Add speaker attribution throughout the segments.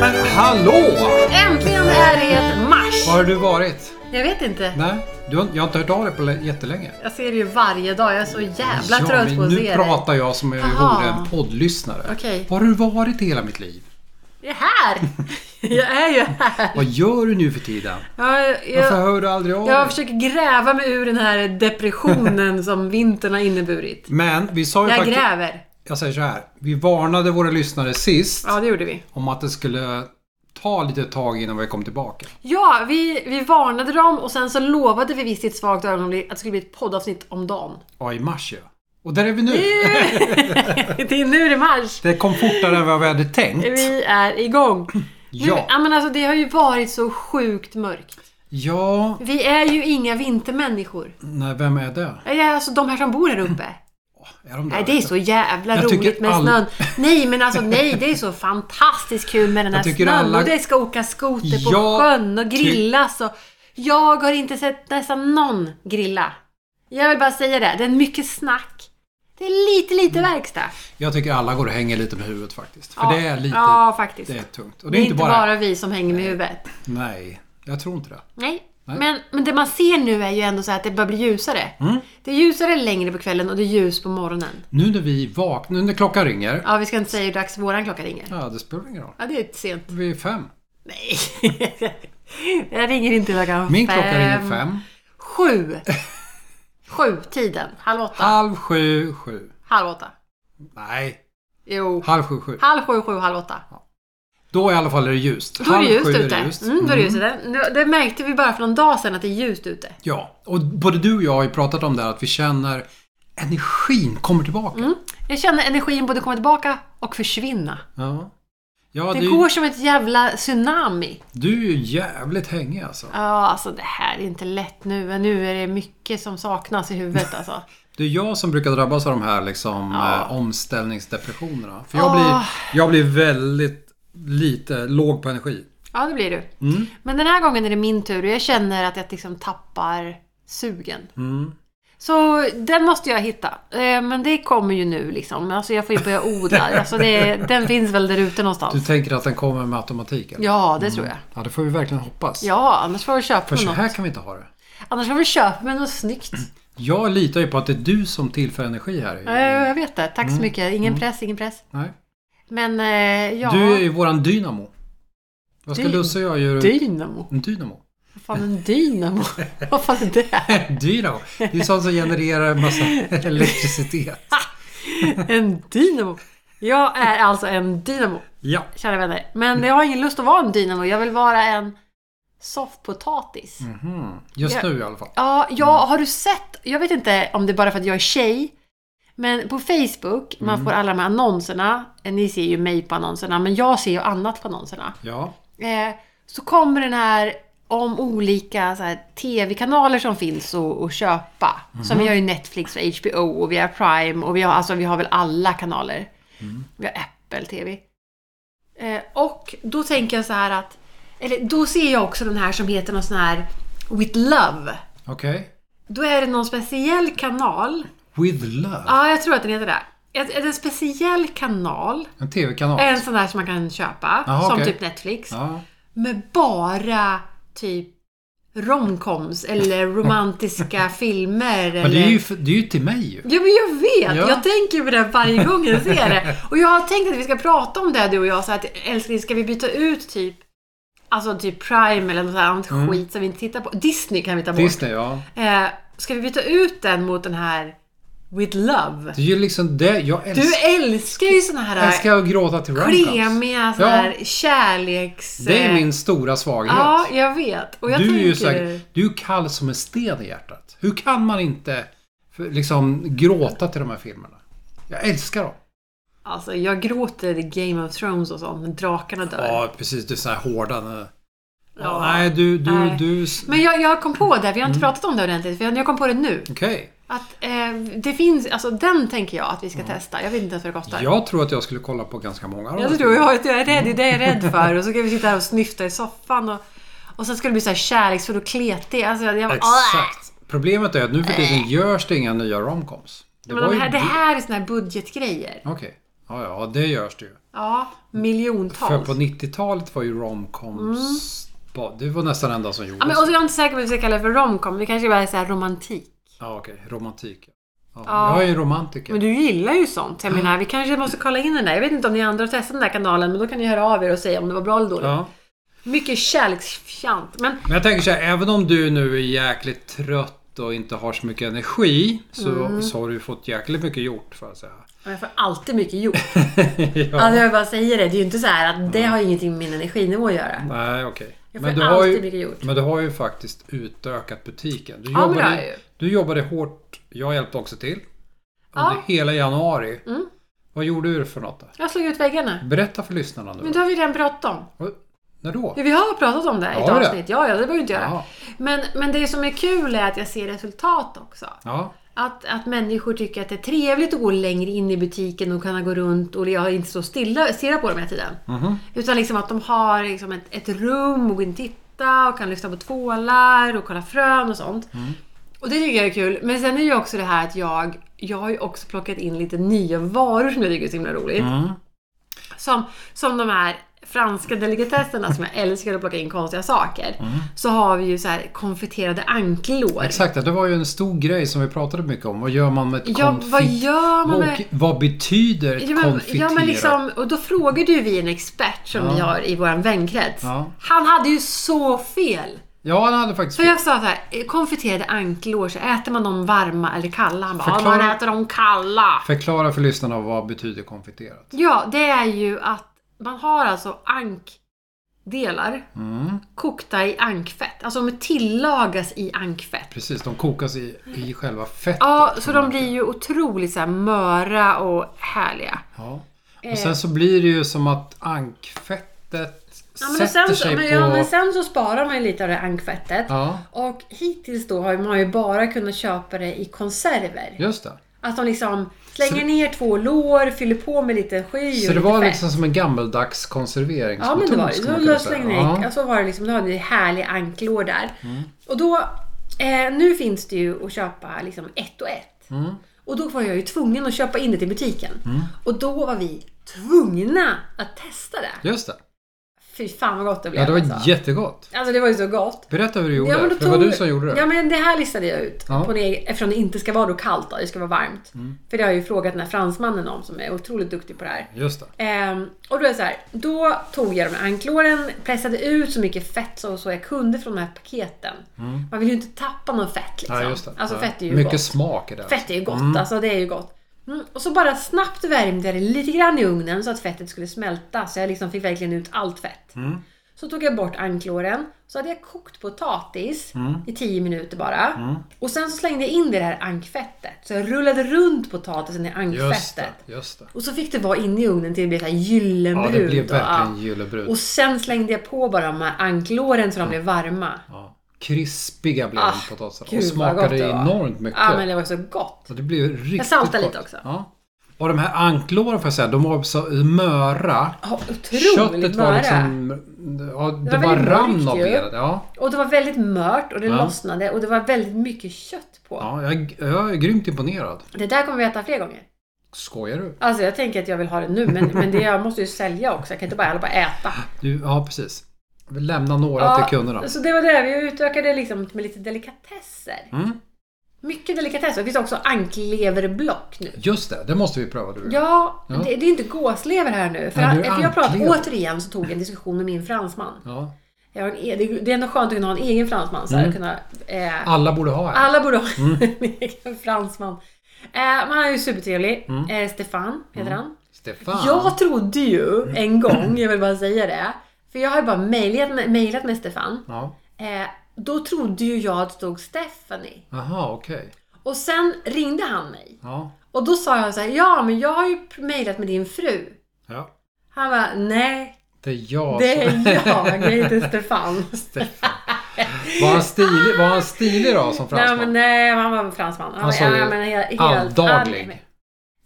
Speaker 1: Men hallå!
Speaker 2: Äntligen är det mars!
Speaker 1: Var har du varit?
Speaker 2: Jag vet inte.
Speaker 1: Nej, du har, jag har inte hört av dig på lä- jättelänge.
Speaker 2: Jag ser det ju varje dag. Jag är så jävla
Speaker 1: Ja,
Speaker 2: trött
Speaker 1: men
Speaker 2: på att
Speaker 1: nu
Speaker 2: se
Speaker 1: pratar jag som om jag
Speaker 2: Jaha.
Speaker 1: vore en poddlyssnare.
Speaker 2: Okej.
Speaker 1: Var har du varit i hela mitt liv?
Speaker 2: det. Jag är här! Jag är ju här.
Speaker 1: Vad gör du nu för tiden?
Speaker 2: Ja, jag,
Speaker 1: Varför
Speaker 2: jag,
Speaker 1: hör du aldrig av dig?
Speaker 2: jag försöker gräva mig ur den här depressionen som vintern har inneburit.
Speaker 1: Men vi sa ju
Speaker 2: Jag
Speaker 1: faktiskt...
Speaker 2: gräver.
Speaker 1: Jag säger så här. Vi varnade våra lyssnare sist
Speaker 2: Ja, det gjorde vi.
Speaker 1: om att det skulle ta lite tag innan vi kom tillbaka.
Speaker 2: Ja, vi, vi varnade dem och sen så lovade vi visst i ett svagt ögonblick att det skulle bli ett poddavsnitt om dagen.
Speaker 1: Ja, i mars ja. Och där är vi nu.
Speaker 2: det är nu det är mars!
Speaker 1: Det kom fortare än vad vi hade tänkt.
Speaker 2: Vi är igång. Nu,
Speaker 1: Ja.
Speaker 2: ja, men alltså, det har ju varit så sjukt mörkt.
Speaker 1: Ja,
Speaker 2: Vi är ju inga vintermänniskor.
Speaker 1: nej, vem är det?
Speaker 2: Ja, Alltså de här som bor här uppe.
Speaker 1: Är de där
Speaker 2: Nej, det är
Speaker 1: ute?
Speaker 2: så jävla
Speaker 1: Jag tycker
Speaker 2: roligt med
Speaker 1: all-
Speaker 2: snön. Nej, men alltså nej, det är så fantastiskt kul med den här
Speaker 1: Jag tycker
Speaker 2: snön.
Speaker 1: alla-
Speaker 2: Och det ska åka skoter på
Speaker 1: Jag
Speaker 2: sjön och
Speaker 1: ty-
Speaker 2: grillas. Och... Jag har inte sett nästan någon grilla. Jag vill bara säga det, det är mycket snack. Det är lite, lite verkstad.
Speaker 1: Jag tycker alla går och hänger lite med huvudet faktiskt. Mm. För
Speaker 2: Ja.
Speaker 1: det är lite...
Speaker 2: Ja, faktiskt.
Speaker 1: Det är tungt. Och det är inte bara...
Speaker 2: vi som hänger med huvudet.
Speaker 1: Nej, jag tror inte det.
Speaker 2: Nej.
Speaker 1: Nej. Mm.
Speaker 2: Men, men det man ser nu är ju ändå så här att det börjar bli ljusare. Det är ljusare längre på kvällen och det är ljus på morgonen.
Speaker 1: Nu när vi vaknar, nu när klockan ringer.
Speaker 2: Ja, vi ska inte säga hur dags våran klocka ringer.
Speaker 1: Ja, det spelar ingen roll.
Speaker 2: Ja, det är sent.
Speaker 1: Vi är fem.
Speaker 2: Nej. Jag ringer inte klockan
Speaker 1: Min klocka ringer fem.
Speaker 2: Sju. Sju tiden. Halv åtta.
Speaker 1: Halv sju, sju.
Speaker 2: Halv åtta.
Speaker 1: Nej,
Speaker 2: Jo.
Speaker 1: halv sju, sju.
Speaker 2: Halv sju, sju, halv åtta.
Speaker 1: Då i alla fall är det ljust.
Speaker 2: Då är det
Speaker 1: Halv
Speaker 2: ljust
Speaker 1: sju är
Speaker 2: ute. Mm, då är det ljust ute. Nu- Det märkte vi bara för någon dag sedan att det är ljust ute.
Speaker 1: Ja, och både du och jag har ju pratat om det här att vi känner energin kommer tillbaka.
Speaker 2: Mm. Jag känner energin både komma tillbaka och försvinna.
Speaker 1: Ja. Ja,
Speaker 2: Det
Speaker 1: du,
Speaker 2: går som ett jävla tsunami.
Speaker 1: du är ju jävligt hängig alltså.
Speaker 2: Ja, alltså det här är inte lätt nu. Nu är det mycket som saknas i huvudet alltså.
Speaker 1: Det är jag som brukar drabbas av de här liksom,
Speaker 2: Ja.
Speaker 1: eh, omställningsdepressionerna. För jag,
Speaker 2: Ah.
Speaker 1: blir, jag blir väldigt lite låg på energi.
Speaker 2: Ja, det blir du.
Speaker 1: Mm.
Speaker 2: Men den här gången är det min tur och jag känner att jag liksom tappar sugen.
Speaker 1: Mm.
Speaker 2: Så den måste jag hitta. Eh, Men det kommer ju nu liksom. Alltså jag får ju börja odla. Alltså det, den finns väl där ute
Speaker 1: Du
Speaker 2: någonstans.
Speaker 1: tänker att den kommer med automatik? Eller? Mm.
Speaker 2: Ja, det tror jag.
Speaker 1: Ja, det får vi verkligen hoppas.
Speaker 2: Ja, annars får vi köpa
Speaker 1: För
Speaker 2: mig
Speaker 1: så
Speaker 2: något.
Speaker 1: här kan vi inte ha det.
Speaker 2: Annars får vi köpa mig något snyggt.
Speaker 1: Mm. Jag litar ju på att det är du som tillför energi här.
Speaker 2: Eh, Jag vet det. Tack
Speaker 1: Mm.
Speaker 2: så mycket. Ingen press, ingen press.
Speaker 1: Nej.
Speaker 2: Men eh, ja...
Speaker 1: Du är ju våran dynamo. Vad ska
Speaker 2: Dy-
Speaker 1: Lusse och jag göra?
Speaker 2: Dynamo?
Speaker 1: En dynamo?
Speaker 2: Vad fan en dynamo? Vad fan är det?
Speaker 1: dynamo? Det är sånt som genererar en massa elektricitet.
Speaker 2: En dynamo? Jag är alltså en dynamo,
Speaker 1: Ja.
Speaker 2: kära vänner. Men jag har ingen lust att vara en dynamo. Jag vill vara en soffpotatis.
Speaker 1: Mhm. Just
Speaker 2: Ja.
Speaker 1: nu i alla fall.
Speaker 2: Ja, ja, har du sett? Jag vet inte om det är bara för att jag är tjej. Men på Facebook, man får alla de här annonserna. Ni ser ju mig på annonserna, men jag ser ju annat på annonserna.
Speaker 1: Ja.
Speaker 2: Eh, så kommer den här om olika så här, tv-kanaler som finns att att köpa. Som
Speaker 1: Mhm.
Speaker 2: vi har ju Netflix och HBO och vi har Prime och vi har, alltså, vi har väl alla kanaler.
Speaker 1: Mm.
Speaker 2: Vi har Apple TV. Eh, och då tänker jag så här att, eller då ser jag också den här som heter någon sån här With Love.
Speaker 1: Okej.
Speaker 2: Då är det någon speciell kanal.
Speaker 1: With love.
Speaker 2: Ja, jag tror att den heter det. Ett- ett- En speciell kanal.
Speaker 1: En tv-kanal.
Speaker 2: En sån där som man kan köpa.
Speaker 1: Jaha,
Speaker 2: som
Speaker 1: okej.
Speaker 2: typ Netflix
Speaker 1: Ja.
Speaker 2: med bara typ romcoms eller romantiska filmer.
Speaker 1: Men det är, ju,
Speaker 2: Eller...
Speaker 1: f- det är ju till mig ju.
Speaker 2: Ja, men jag vet!
Speaker 1: Ja.
Speaker 2: Jag tänker på det varje gång jag ser det. Och jag har tänkt att vi ska prata om det du och jag. Så att, älskling, ska vi byta ut typ Alltså typ Prime eller något annat skit som vi inte tittar på. Disney kan vi ta bort.
Speaker 1: Mm. Disney, ja.
Speaker 2: Eh, ska vi byta ut den mot den här With Love?
Speaker 1: Det är ju liksom det. Jag älskar,
Speaker 2: Du älskar ju såna här
Speaker 1: älskar att gråta till romcoms.
Speaker 2: klemiga, såna
Speaker 1: Ja.
Speaker 2: här kärleks...
Speaker 1: Det är min stora svaghet.
Speaker 2: Ja, jag vet. Och jag
Speaker 1: du är
Speaker 2: tänker...
Speaker 1: ju säkert, du är ju kall som en sten i hjärtat. Hur kan man inte för- liksom gråta till de här filmerna? Jag älskar dem.
Speaker 2: Alltså, jag gråter i Game of Thrones och sånt, när drakarna dör.
Speaker 1: Ja, precis. Det är så här hårda. när-
Speaker 2: Ja.
Speaker 1: Nej, du, du,
Speaker 2: Nej.
Speaker 1: du.
Speaker 2: Men jag, jag kom på det, vi har inte
Speaker 1: Mm.
Speaker 2: pratat om det ordentligt, för jag jag kom på det nu.
Speaker 1: Okej.
Speaker 2: Att eh, det finns, alltså den tänker jag att vi ska
Speaker 1: Mm.
Speaker 2: testa. Jag vet inte ens vad det kostar.
Speaker 1: Jag tror att jag skulle kolla på ganska många av
Speaker 2: Jag
Speaker 1: dem.
Speaker 2: tror jag, jag är rädd, det är det jag är rädd för. Och så kan vi sitta här och snyfta i soffan och, Och sen ska det bli så här kärleksfull och kletig. Alltså, jag,
Speaker 1: Exakt. Problemet är att nu för tiden görs det inga nya romcoms. Det
Speaker 2: Men de här, det
Speaker 1: Okej.
Speaker 2: här är såna här budgetgrejer.
Speaker 1: Ja, ja, det görs det ju.
Speaker 2: Ja,
Speaker 1: För
Speaker 2: miljontals.
Speaker 1: på 90-talet var ju romcoms... ba- Det var nästan det enda som gjordes.
Speaker 2: Mm. Ja, men, och så är jag inte säker på vad vi ska kalla det för romcom. Det kanske bara är så här romantik.
Speaker 1: Ja, okej. Romantik. Ja.
Speaker 2: Ja.
Speaker 1: Jag är ju romantiker.
Speaker 2: Men du gillar ju sånt. Jag menar, vi kanske måste kolla in den där. Jag vet inte om ni andra har testat den där kanalen, men då kan ni höra av er och säga om det var bra eller dåligt.
Speaker 1: Ja.
Speaker 2: Mycket kärleksfjant. Men
Speaker 1: Men jag tänker så här, även om du nu är jäkligt trött och inte har så mycket energi så,
Speaker 2: Mm.
Speaker 1: så har du fått jäkligt mycket gjort får jag säga.
Speaker 2: jag får alltid mycket gjort.
Speaker 1: ja.
Speaker 2: Alltså jag bara säger det. Det är ju inte så här att det har ingenting med min energinivå att göra.
Speaker 1: Nej, okej.
Speaker 2: Jag får
Speaker 1: Men, du
Speaker 2: alltid
Speaker 1: har ju-
Speaker 2: mycket gjort.
Speaker 1: men du har ju faktiskt utökat butiken. Du
Speaker 2: men det har
Speaker 1: jobbade,
Speaker 2: jag ju.
Speaker 1: du jobbade hårt. Jag hjälpte också till.
Speaker 2: Ja.
Speaker 1: Under hela januari.
Speaker 2: Mm.
Speaker 1: Vad gjorde du för något då?
Speaker 2: Jag slog ut väggarna.
Speaker 1: Berätta för lyssnarna nu.
Speaker 2: Men då har vi redan pratat om.
Speaker 1: Vad- När då?
Speaker 2: Ja, vi har pratat om det i ett
Speaker 1: Har vi det?
Speaker 2: avsnitt. Ja, ja, det behöver vi inte göra.
Speaker 1: Ja.
Speaker 2: Men, men det som är kul är att jag ser resultat också.
Speaker 1: Ja.
Speaker 2: Att, att människor tycker att det är trevligt att gå längre in i butiken och kunna gå runt och jag inte så stilla stirra på dem hela tiden.
Speaker 1: Mhm.
Speaker 2: Utan liksom att de har liksom ett, ett rum och gå in och titta och kan lyssna på tvålar och kolla frön och sånt.
Speaker 1: Mm.
Speaker 2: Och det tycker jag är kul. Men sen är ju också det här att jag, jag har ju också plockat in lite nya varor som jag tycker är så himla roligt.
Speaker 1: Mm.
Speaker 2: Som, som de här franska delikatesserna som jag älskar att plocka in konstiga saker.
Speaker 1: Mm.
Speaker 2: Så har vi ju så här konfiterade anklor.
Speaker 1: Exakt, det var ju en stor grej som vi pratade mycket om. Vad gör man med ett
Speaker 2: Ja,
Speaker 1: konfit?
Speaker 2: vad gör man med...
Speaker 1: Och vad betyder ett
Speaker 2: Ja men,
Speaker 1: konfiterat?
Speaker 2: ja, men liksom, och då frågade ju vi en expert som
Speaker 1: Ja.
Speaker 2: vi har i vår vänkrets.
Speaker 1: Ja.
Speaker 2: Han hade ju så fel!
Speaker 1: Ja, han hade faktiskt
Speaker 2: För jag sa så här, eh, konfiterade anklor, så äter man dem varma eller kalla? Han bara, ja,
Speaker 1: Förklara-
Speaker 2: man äter dem kalla.
Speaker 1: Förklara för lyssnarna vad betyder konfiterat.
Speaker 2: Ja, det är ju att man har alltså ankdelar
Speaker 1: Mm.
Speaker 2: kokta i ankfett. Alltså de tillagas i ankfett.
Speaker 1: Precis, de kokas i, i själva fettet.
Speaker 2: Ja, så
Speaker 1: som
Speaker 2: de
Speaker 1: man-
Speaker 2: blir ju otroligt så här möra och härliga.
Speaker 1: Ja.
Speaker 2: Eh.
Speaker 1: Och sen så blir det ju som att ankfettet
Speaker 2: Ja,
Speaker 1: sätter
Speaker 2: men, sen, så,
Speaker 1: sig
Speaker 2: men,
Speaker 1: på...
Speaker 2: ja, men sen så sparar man ju lite av det ankfettet.
Speaker 1: Ja,
Speaker 2: Och hittills då har man ju bara kunnat köpa det i konserver.
Speaker 1: just det.
Speaker 2: Att de liksom slänger ner två lår, fyller på med lite sky och
Speaker 1: Så det
Speaker 2: lite
Speaker 1: var
Speaker 2: fett.
Speaker 1: liksom som en gammeldags konserveringsmetod.
Speaker 2: Ja men det var
Speaker 1: skulle
Speaker 2: det.
Speaker 1: man
Speaker 2: Då,
Speaker 1: kunna
Speaker 2: då
Speaker 1: säga.
Speaker 2: slängde
Speaker 1: Ja. Mm.
Speaker 2: jag, ja. så var det liksom, då hade vi härlig anklor där. Och då, eh, nu finns det ju att köpa liksom ett och ett.
Speaker 1: Mm.
Speaker 2: Och då var jag ju tvungen att köpa in det till butiken. Och då var vi tvungna att testa det.
Speaker 1: Just det.
Speaker 2: Fy fan vad gott det blev
Speaker 1: Ja, det var
Speaker 2: alltså.
Speaker 1: jättegott.
Speaker 2: alltså det var ju så gott.
Speaker 1: Berätta hur du gjorde.
Speaker 2: Ja, men då
Speaker 1: för det var
Speaker 2: tog-
Speaker 1: du som gjorde det.
Speaker 2: Ja men det här listade jag ut.
Speaker 1: Ja. Mm.
Speaker 2: På en egen, eftersom det inte ska vara då kallt då, det ska vara varmt. För det har jag ju frågat den här fransmannen om som är otroligt duktig på det här.
Speaker 1: Just det.
Speaker 2: Ehm, och då är det så här, då tog jag de här ankloren, pressade ut så mycket fett så, så jag kunde från de här paketen. Man vill ju inte tappa någon fett liksom.
Speaker 1: Ja, Mm. just det.
Speaker 2: Alltså
Speaker 1: ja.
Speaker 2: fett är ju
Speaker 1: Mycket
Speaker 2: gott.
Speaker 1: smak i det.
Speaker 2: Fett är ju gott, alltså det är ju gott. Mm. Och så bara snabbt värmde jag det lite grann i ugnen så att fettet skulle smälta. Så jag liksom fick verkligen ut allt fett.
Speaker 1: Mm.
Speaker 2: Så tog jag bort ankloren. Så hade jag kokt potatis
Speaker 1: Mm.
Speaker 2: i 10 minuter bara. Och sen så slängde jag in det här ankfettet. Så jag rullade runt potatisen i
Speaker 1: Just det.
Speaker 2: ankfettet.
Speaker 1: Just det.
Speaker 2: Och så fick det vara inne i ugnen till det blev så här gyllenbrunt.
Speaker 1: Ja, det blev
Speaker 2: och, ja.
Speaker 1: verkligen gyllebrunt.
Speaker 2: och sen slängde jag på bara de här anklåren
Speaker 1: Mm.
Speaker 2: så de blev varma.
Speaker 1: Ja. Krispiga blev
Speaker 2: Ah,
Speaker 1: de potatisarna
Speaker 2: gud,
Speaker 1: och
Speaker 2: vad gott
Speaker 1: smakade
Speaker 2: det var.
Speaker 1: enormt mycket.
Speaker 2: Ja men det var så gott.
Speaker 1: Så det blev riktigt
Speaker 2: saltade
Speaker 1: gott.
Speaker 2: lite också.
Speaker 1: Ja. Och de här anklåren får jag säga, de var så möra.
Speaker 2: Ja, otroligt
Speaker 1: Köttet var
Speaker 2: möra.
Speaker 1: liksom... Ja, det,
Speaker 2: var
Speaker 1: bara
Speaker 2: väldigt
Speaker 1: rann
Speaker 2: mörkt
Speaker 1: av
Speaker 2: ju.
Speaker 1: benet. Ja.
Speaker 2: Och det var väldigt mört och det
Speaker 1: Ja.
Speaker 2: lossnade och det var väldigt mycket kött på.
Speaker 1: Ja, jag, jag är grymt imponerad.
Speaker 2: Det där kommer vi äta fler gånger.
Speaker 1: Skojar du?
Speaker 2: Alltså jag tänker att jag vill ha det nu men, men det, jag måste ju sälja också. Jag kan inte bara, alla bara äta.
Speaker 1: du? Ja, precis. Vi lämnar några
Speaker 2: Ja,
Speaker 1: till kunderna.
Speaker 2: Så det var det. Vi utökade liksom med lite delikatesser.
Speaker 1: Mm.
Speaker 2: Mycket delikatesser. Det finns också ankleverblock nu.
Speaker 1: Just det, det måste vi pröva du.
Speaker 2: Ja,
Speaker 1: Ja.
Speaker 2: Det, det är ju inte gåslever här nu. För,
Speaker 1: Nej, det är
Speaker 2: för jag pratade,
Speaker 1: anklever.
Speaker 2: återigen så tog jag en diskussion med min fransman.
Speaker 1: Ja.
Speaker 2: Jag har en, e- det, det är ändå skönt att kunna ha en egen fransman. Så här,
Speaker 1: Mm.
Speaker 2: kunna, eh,
Speaker 1: Alla borde ha en.
Speaker 2: Alla borde ha en egen fransman. Eh, men han är ju supertrevlig. Eh, Stefan heter han.
Speaker 1: Stefan.
Speaker 2: Jag trodde ju en gång, jag vill bara säga det. För jag har ju bara mejlat med, mejlat med Stefan.
Speaker 1: Ja.
Speaker 2: Eh, då trodde ju jag att det stod Stephanie.
Speaker 1: Aha, okej.
Speaker 2: Och sen ringde han mig.
Speaker 1: Ja.
Speaker 2: Och då sa jag så här, ja men jag har ju pr- mejlat med din fru.
Speaker 1: ja.
Speaker 2: Han bara, nej
Speaker 1: Det är jag
Speaker 2: det
Speaker 1: som...
Speaker 2: är jag, jag heter Stefan.
Speaker 1: Stefan. Var han stilig, var han stilig då som
Speaker 2: nej
Speaker 1: fransman?
Speaker 2: men nej, han var en fransman.
Speaker 1: Han sa ju
Speaker 2: he- helt-
Speaker 1: Alldaglig.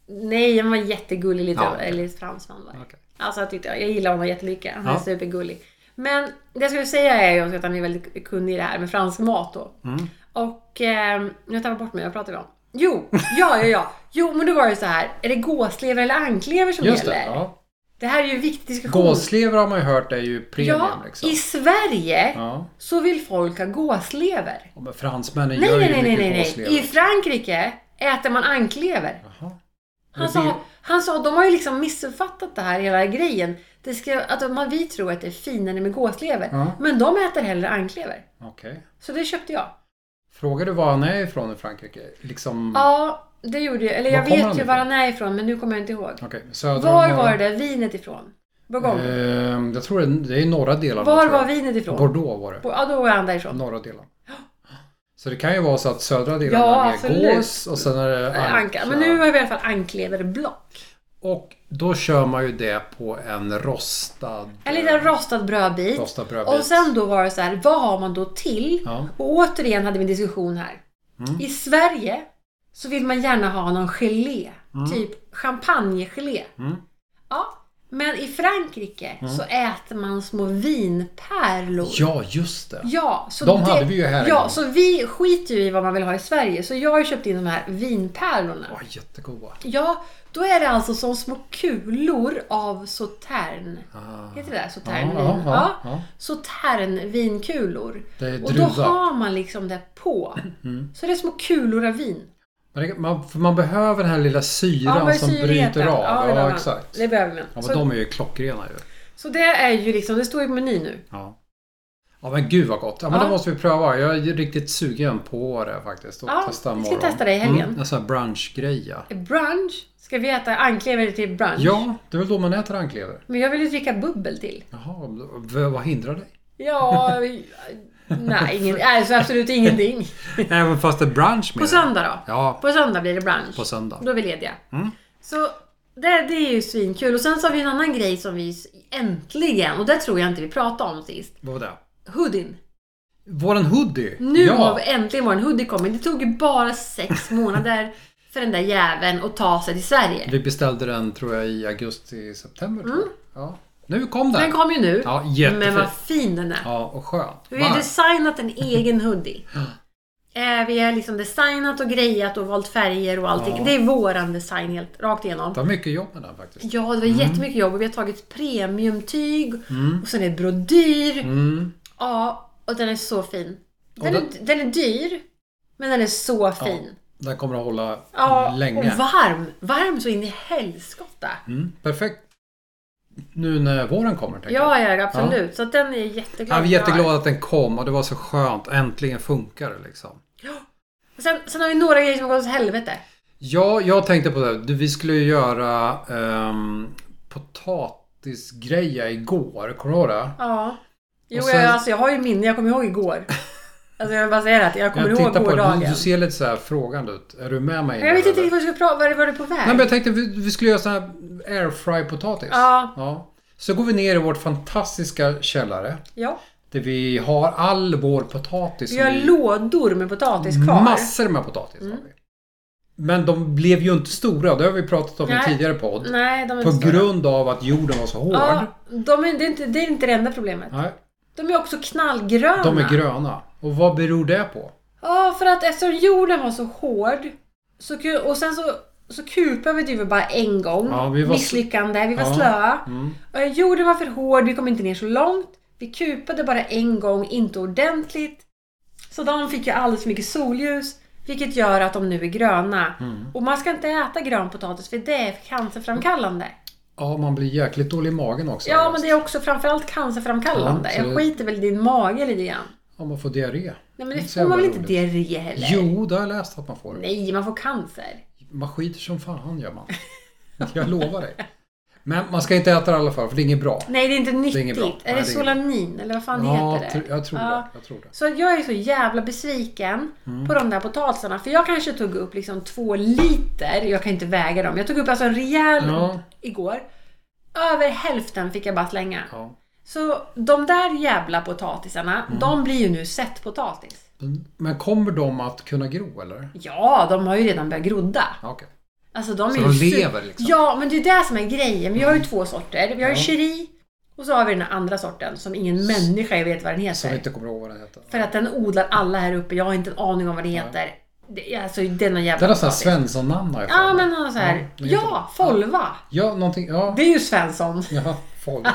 Speaker 2: Nej, han var jättegullig lite,
Speaker 1: Ja, okej.
Speaker 2: eller fransman var det.
Speaker 1: Okej.
Speaker 2: Alltså jag tyckte, jag gillar honom jättemycket. Han är
Speaker 1: Ja.
Speaker 2: supergullig. Men det jag skulle säga är ju också att han är väldigt kunnig i det här med fransk mat då.
Speaker 1: Mm.
Speaker 2: Och eh, nu tappar jag bort mig, jag pratar om. Jo, ja, ja, ja. Jo, men då var det ju så här. Är det gåslever eller anklever som
Speaker 1: Just det.
Speaker 2: gäller?
Speaker 1: Ja.
Speaker 2: Det här är ju en viktig diskussion.
Speaker 1: Gåslever har man ju hört är ju premium
Speaker 2: ja,
Speaker 1: liksom.
Speaker 2: i Sverige
Speaker 1: Ja.
Speaker 2: så vill folk ha gåslever.
Speaker 1: Och Men fransmännen
Speaker 2: Nej,
Speaker 1: gör
Speaker 2: nej,
Speaker 1: ju
Speaker 2: nej, nej,
Speaker 1: mycket
Speaker 2: nej,
Speaker 1: gåslever.
Speaker 2: nej. I Frankrike äter man anklever.
Speaker 1: Jaha.
Speaker 2: Han
Speaker 1: Det blir-
Speaker 2: sa, han sa, de har ju liksom missuppfattat det här hela grejen. Det ska, att de, vi tror att det är finare med gåslever.
Speaker 1: Ja. Mm.
Speaker 2: Men de äter hellre anklever.
Speaker 1: Okej.
Speaker 2: Så det köpte jag.
Speaker 1: Frågar du var han är ifrån i Frankrike? Liksom...
Speaker 2: Ja, det gjorde jag. Eller
Speaker 1: Var
Speaker 2: jag
Speaker 1: kommer han
Speaker 2: vet ju var
Speaker 1: ifrån?
Speaker 2: han är ifrån, men nu kommer jag inte ihåg.
Speaker 1: Okej, söder om
Speaker 2: Var
Speaker 1: norra-
Speaker 2: var det vinet ifrån? Bourgogne?
Speaker 1: Ehm, jag tror det, det är norra delarna.
Speaker 2: var
Speaker 1: tror jag.
Speaker 2: var vinet ifrån?
Speaker 1: Bordeaux var det.
Speaker 2: Bo- Ja, då var han därifrån.
Speaker 1: Norra delen. Så det kan ju vara så att södra delen
Speaker 2: Ja,
Speaker 1: är
Speaker 2: absolut.
Speaker 1: mer gås och sen är det
Speaker 2: Anka.
Speaker 1: anka.
Speaker 2: Men nu har vi i alla fall ankleverblock.
Speaker 1: Och då kör man ju det på en rostad... eh,
Speaker 2: En liten rostad brödbit.
Speaker 1: Rostad brödbit.
Speaker 2: Och sen då var det så här, vad har man då till?
Speaker 1: Ja. Mm.
Speaker 2: Och återigen hade vi en diskussion här. I Sverige så vill man gärna ha någon gelé. Typ champagnegelé.
Speaker 1: Mm.
Speaker 2: Ja. Men i Frankrike så äter man små vinpärlor.
Speaker 1: Ja, just det.
Speaker 2: Ja, så
Speaker 1: De
Speaker 2: det,
Speaker 1: hade vi ju här en
Speaker 2: Ja,
Speaker 1: gång.
Speaker 2: så vi skiter ju i vad man vill ha i Sverige. Så jag har ju köpt in de här vinpärlorna.
Speaker 1: Åh, jättegoda.
Speaker 2: Ja, då är det alltså som små kulor av sautern.
Speaker 1: Ah.
Speaker 2: Heter det där? Sauternvin?
Speaker 1: Ja, ja, ja, ja.
Speaker 2: Sauternvinkulor.
Speaker 1: Det är
Speaker 2: Och då
Speaker 1: druva. Mm.
Speaker 2: har man liksom det på. Så det är små kulor av vin.
Speaker 1: Men det- Man, för man behöver den här lilla syran
Speaker 2: man har ju
Speaker 1: som
Speaker 2: syrligheten.
Speaker 1: bryter av.
Speaker 2: Ja, det
Speaker 1: Ja,
Speaker 2: behöver man.
Speaker 1: exakt.
Speaker 2: Det behöver man.
Speaker 1: Ja, men
Speaker 2: så,
Speaker 1: de är ju klockrena ju.
Speaker 2: så det är ju liksom, det står ju på menyn nu.
Speaker 1: Ja. Ja men gud vad gott. Ja, men
Speaker 2: Ja.
Speaker 1: det måste vi pröva. Jag är ju riktigt sugen på det faktiskt. Och
Speaker 2: Ja,
Speaker 1: testa
Speaker 2: vi ska
Speaker 1: imorgon.
Speaker 2: testa det i helgen.
Speaker 1: Mm, en sån här brunchgrej ja.
Speaker 2: Brunch, ska vi äta anklever till brunch?
Speaker 1: Ja, det är väl då man äter anklever.
Speaker 2: Men jag vill ju dricka bubbel till.
Speaker 1: Jaha, v- vad hindrar dig?
Speaker 2: Ja, nej, ingen, alltså absolut ingenting.
Speaker 1: Även fast det är brunch med
Speaker 2: På
Speaker 1: det.
Speaker 2: söndag då?
Speaker 1: Ja,
Speaker 2: På söndag blir det brunch.
Speaker 1: på söndag.
Speaker 2: Då är vi lediga.
Speaker 1: Mm.
Speaker 2: Så det, det är ju svinkul. Och sen så har vi en annan grej som vi s- äntligen, och det tror jag inte vi pratade om sist.
Speaker 1: Vad var det?
Speaker 2: Hoodien.
Speaker 1: Våran hoodie.
Speaker 2: Nu
Speaker 1: ja.
Speaker 2: har vi äntligen vår hoodie kommit. Det tog ju bara sex månader för den där jäveln att ta sig till Sverige.
Speaker 1: Vi beställde den tror jag i augusti, september. Tror jag. Ja. Nu kom den.
Speaker 2: Mm. Den kom ju nu.
Speaker 1: Ja, jättefin.
Speaker 2: men vad fin den är.
Speaker 1: Ja, och skön.
Speaker 2: Vi har
Speaker 1: Varm.
Speaker 2: designat en egen hoodie. Eh, Vi har liksom designat och grejat och valt färger och allting.
Speaker 1: Ja.
Speaker 2: Det är våran design helt rakt igenom.
Speaker 1: Det var mycket jobb med den faktiskt.
Speaker 2: Ja, det var jättemycket jobb och vi har tagit premiumtyg och sen är det brodyr.
Speaker 1: Mm.
Speaker 2: Ja, och den är så fin. Den,
Speaker 1: Och
Speaker 2: är, den är dyr, men den är så fin.
Speaker 1: Den kommer att hålla
Speaker 2: Ja,
Speaker 1: länge.
Speaker 2: och varm. Varm så in i helskotta.
Speaker 1: Mm, perfekt. Nu när våren kommer tänker jag.
Speaker 2: Ja, ja, absolut. Så att den är jätteglad
Speaker 1: Jag är
Speaker 2: för.
Speaker 1: jätteglad att den kom och det var så skönt. Äntligen funkar det liksom.
Speaker 2: Sen, sen har vi några grejer som har gått åt helvete.
Speaker 1: Ja, jag tänkte på det. Du, Vi skulle ju göra um, potatisgreja igår. Kommer du ihåg det?
Speaker 2: Ja. Jo,
Speaker 1: Och sen-
Speaker 2: jag, alltså, jag har ju minne. Jag kommer ihåg igår. Alltså jag vill bara säga det att jag kommer
Speaker 1: Jag
Speaker 2: ihåg
Speaker 1: tittar på
Speaker 2: gårdagen.
Speaker 1: det. Du, du ser lite så här frågande ut. Är du med mig?
Speaker 2: Men jag vet inte
Speaker 1: eller?
Speaker 2: riktigt vad du ska prata Var var du på väg?
Speaker 1: Nej, men jag tänkte vi, vi skulle göra sån här airfry potatis.
Speaker 2: Ja.
Speaker 1: ja. Så går vi ner i vårt fantastiska källare.
Speaker 2: Ja.
Speaker 1: Där vi har all vår potatis.
Speaker 2: Vi
Speaker 1: som
Speaker 2: har
Speaker 1: vi-
Speaker 2: lådor med potatis kvar. Mm.
Speaker 1: Massor med potatis har vi. Men de blev ju inte stora. Det har vi pratat om i
Speaker 2: Nej.
Speaker 1: en tidigare podd.
Speaker 2: Nej, de är
Speaker 1: På
Speaker 2: inte stora.
Speaker 1: grund av att jorden var så hård.
Speaker 2: Ja, de är, det, är inte, det är inte det enda problemet.
Speaker 1: Nej,
Speaker 2: De är också knallgröna.
Speaker 1: de är gröna. Och vad beror det på?
Speaker 2: Ja, för att eftersom jorden var så hård så, ku- och sen så, så kupade vi typ bara en gång.
Speaker 1: Ja, vi var sl-
Speaker 2: Misslyckande, vi var
Speaker 1: Ja.
Speaker 2: slöa.
Speaker 1: Mm.
Speaker 2: Och jorden var för hård, vi kom inte ner så långt. Vi kupade bara en gång, inte ordentligt. Så de fick ju alldeles för mycket solljus. Vilket gör att de nu är gröna.
Speaker 1: Mm.
Speaker 2: Och man ska inte äta grön potatis för det är cancerframkallande.
Speaker 1: Ja, man blir jäkligt dålig i magen också.
Speaker 2: Ja, men det är också framförallt cancerframkallande.
Speaker 1: Ja, så
Speaker 2: Jag
Speaker 1: det-
Speaker 2: skiter väl i din mage lite grann.
Speaker 1: Ja, man får diarré.
Speaker 2: Nej men det
Speaker 1: Så jävla
Speaker 2: får man väl inte
Speaker 1: roligt.
Speaker 2: diarré heller?
Speaker 1: Jo, det har jag läst att man får.
Speaker 2: Nej, man får cancer.
Speaker 1: Man skiter som fan gör man. Jag lovar dig. Men man ska inte äta det i alla fall, för det är inget bra.
Speaker 2: Nej, det är inte nyttigt.
Speaker 1: inget bra.
Speaker 2: Är
Speaker 1: Nej,
Speaker 2: det
Speaker 1: det är
Speaker 2: solanin eller vad fan
Speaker 1: ja,
Speaker 2: heter det?
Speaker 1: tr- jag tror
Speaker 2: Ja.
Speaker 1: det. Mm. Jag tror det.
Speaker 2: Så jag är så jävla besviken på de där potatisarna. För jag kanske tog upp liksom två liter. Jag kan inte väga dem. Jag tog upp alltså en rejäl
Speaker 1: Ja.
Speaker 2: igår. Över hälften fick jag bara slänga.
Speaker 1: Ja.
Speaker 2: Så de där jävla potatisarna,
Speaker 1: Mm.
Speaker 2: de blir ju nu sättpotatis.
Speaker 1: Men kommer de att kunna gro, eller?
Speaker 2: Ja, de har ju redan börjat grodda.
Speaker 1: Ja, okej.
Speaker 2: Alltså de
Speaker 1: Så
Speaker 2: är
Speaker 1: de
Speaker 2: ju su-
Speaker 1: lever liksom? Mm.
Speaker 2: Ja, men det är det som är grejen. Vi har ju två sorter. Vi har ju
Speaker 1: Ja.
Speaker 2: cheri Och så har vi den här andra sorten som ingen människa vet vad den heter.
Speaker 1: Som jag inte kommer ihåg vad den heter.
Speaker 2: För att den odlar alla här uppe. Jag har inte en aning om vad det heter. Det, alltså det är någon jävla
Speaker 1: Den har sådana
Speaker 2: potatis.
Speaker 1: Svensson-namn har jag för
Speaker 2: Ja
Speaker 1: mig.
Speaker 2: men han har så här.
Speaker 1: Ja,
Speaker 2: Ja,
Speaker 1: det är
Speaker 2: Folva!
Speaker 1: Ja, någonting. Ja.
Speaker 2: Det är ju Svensson.
Speaker 1: ja folk.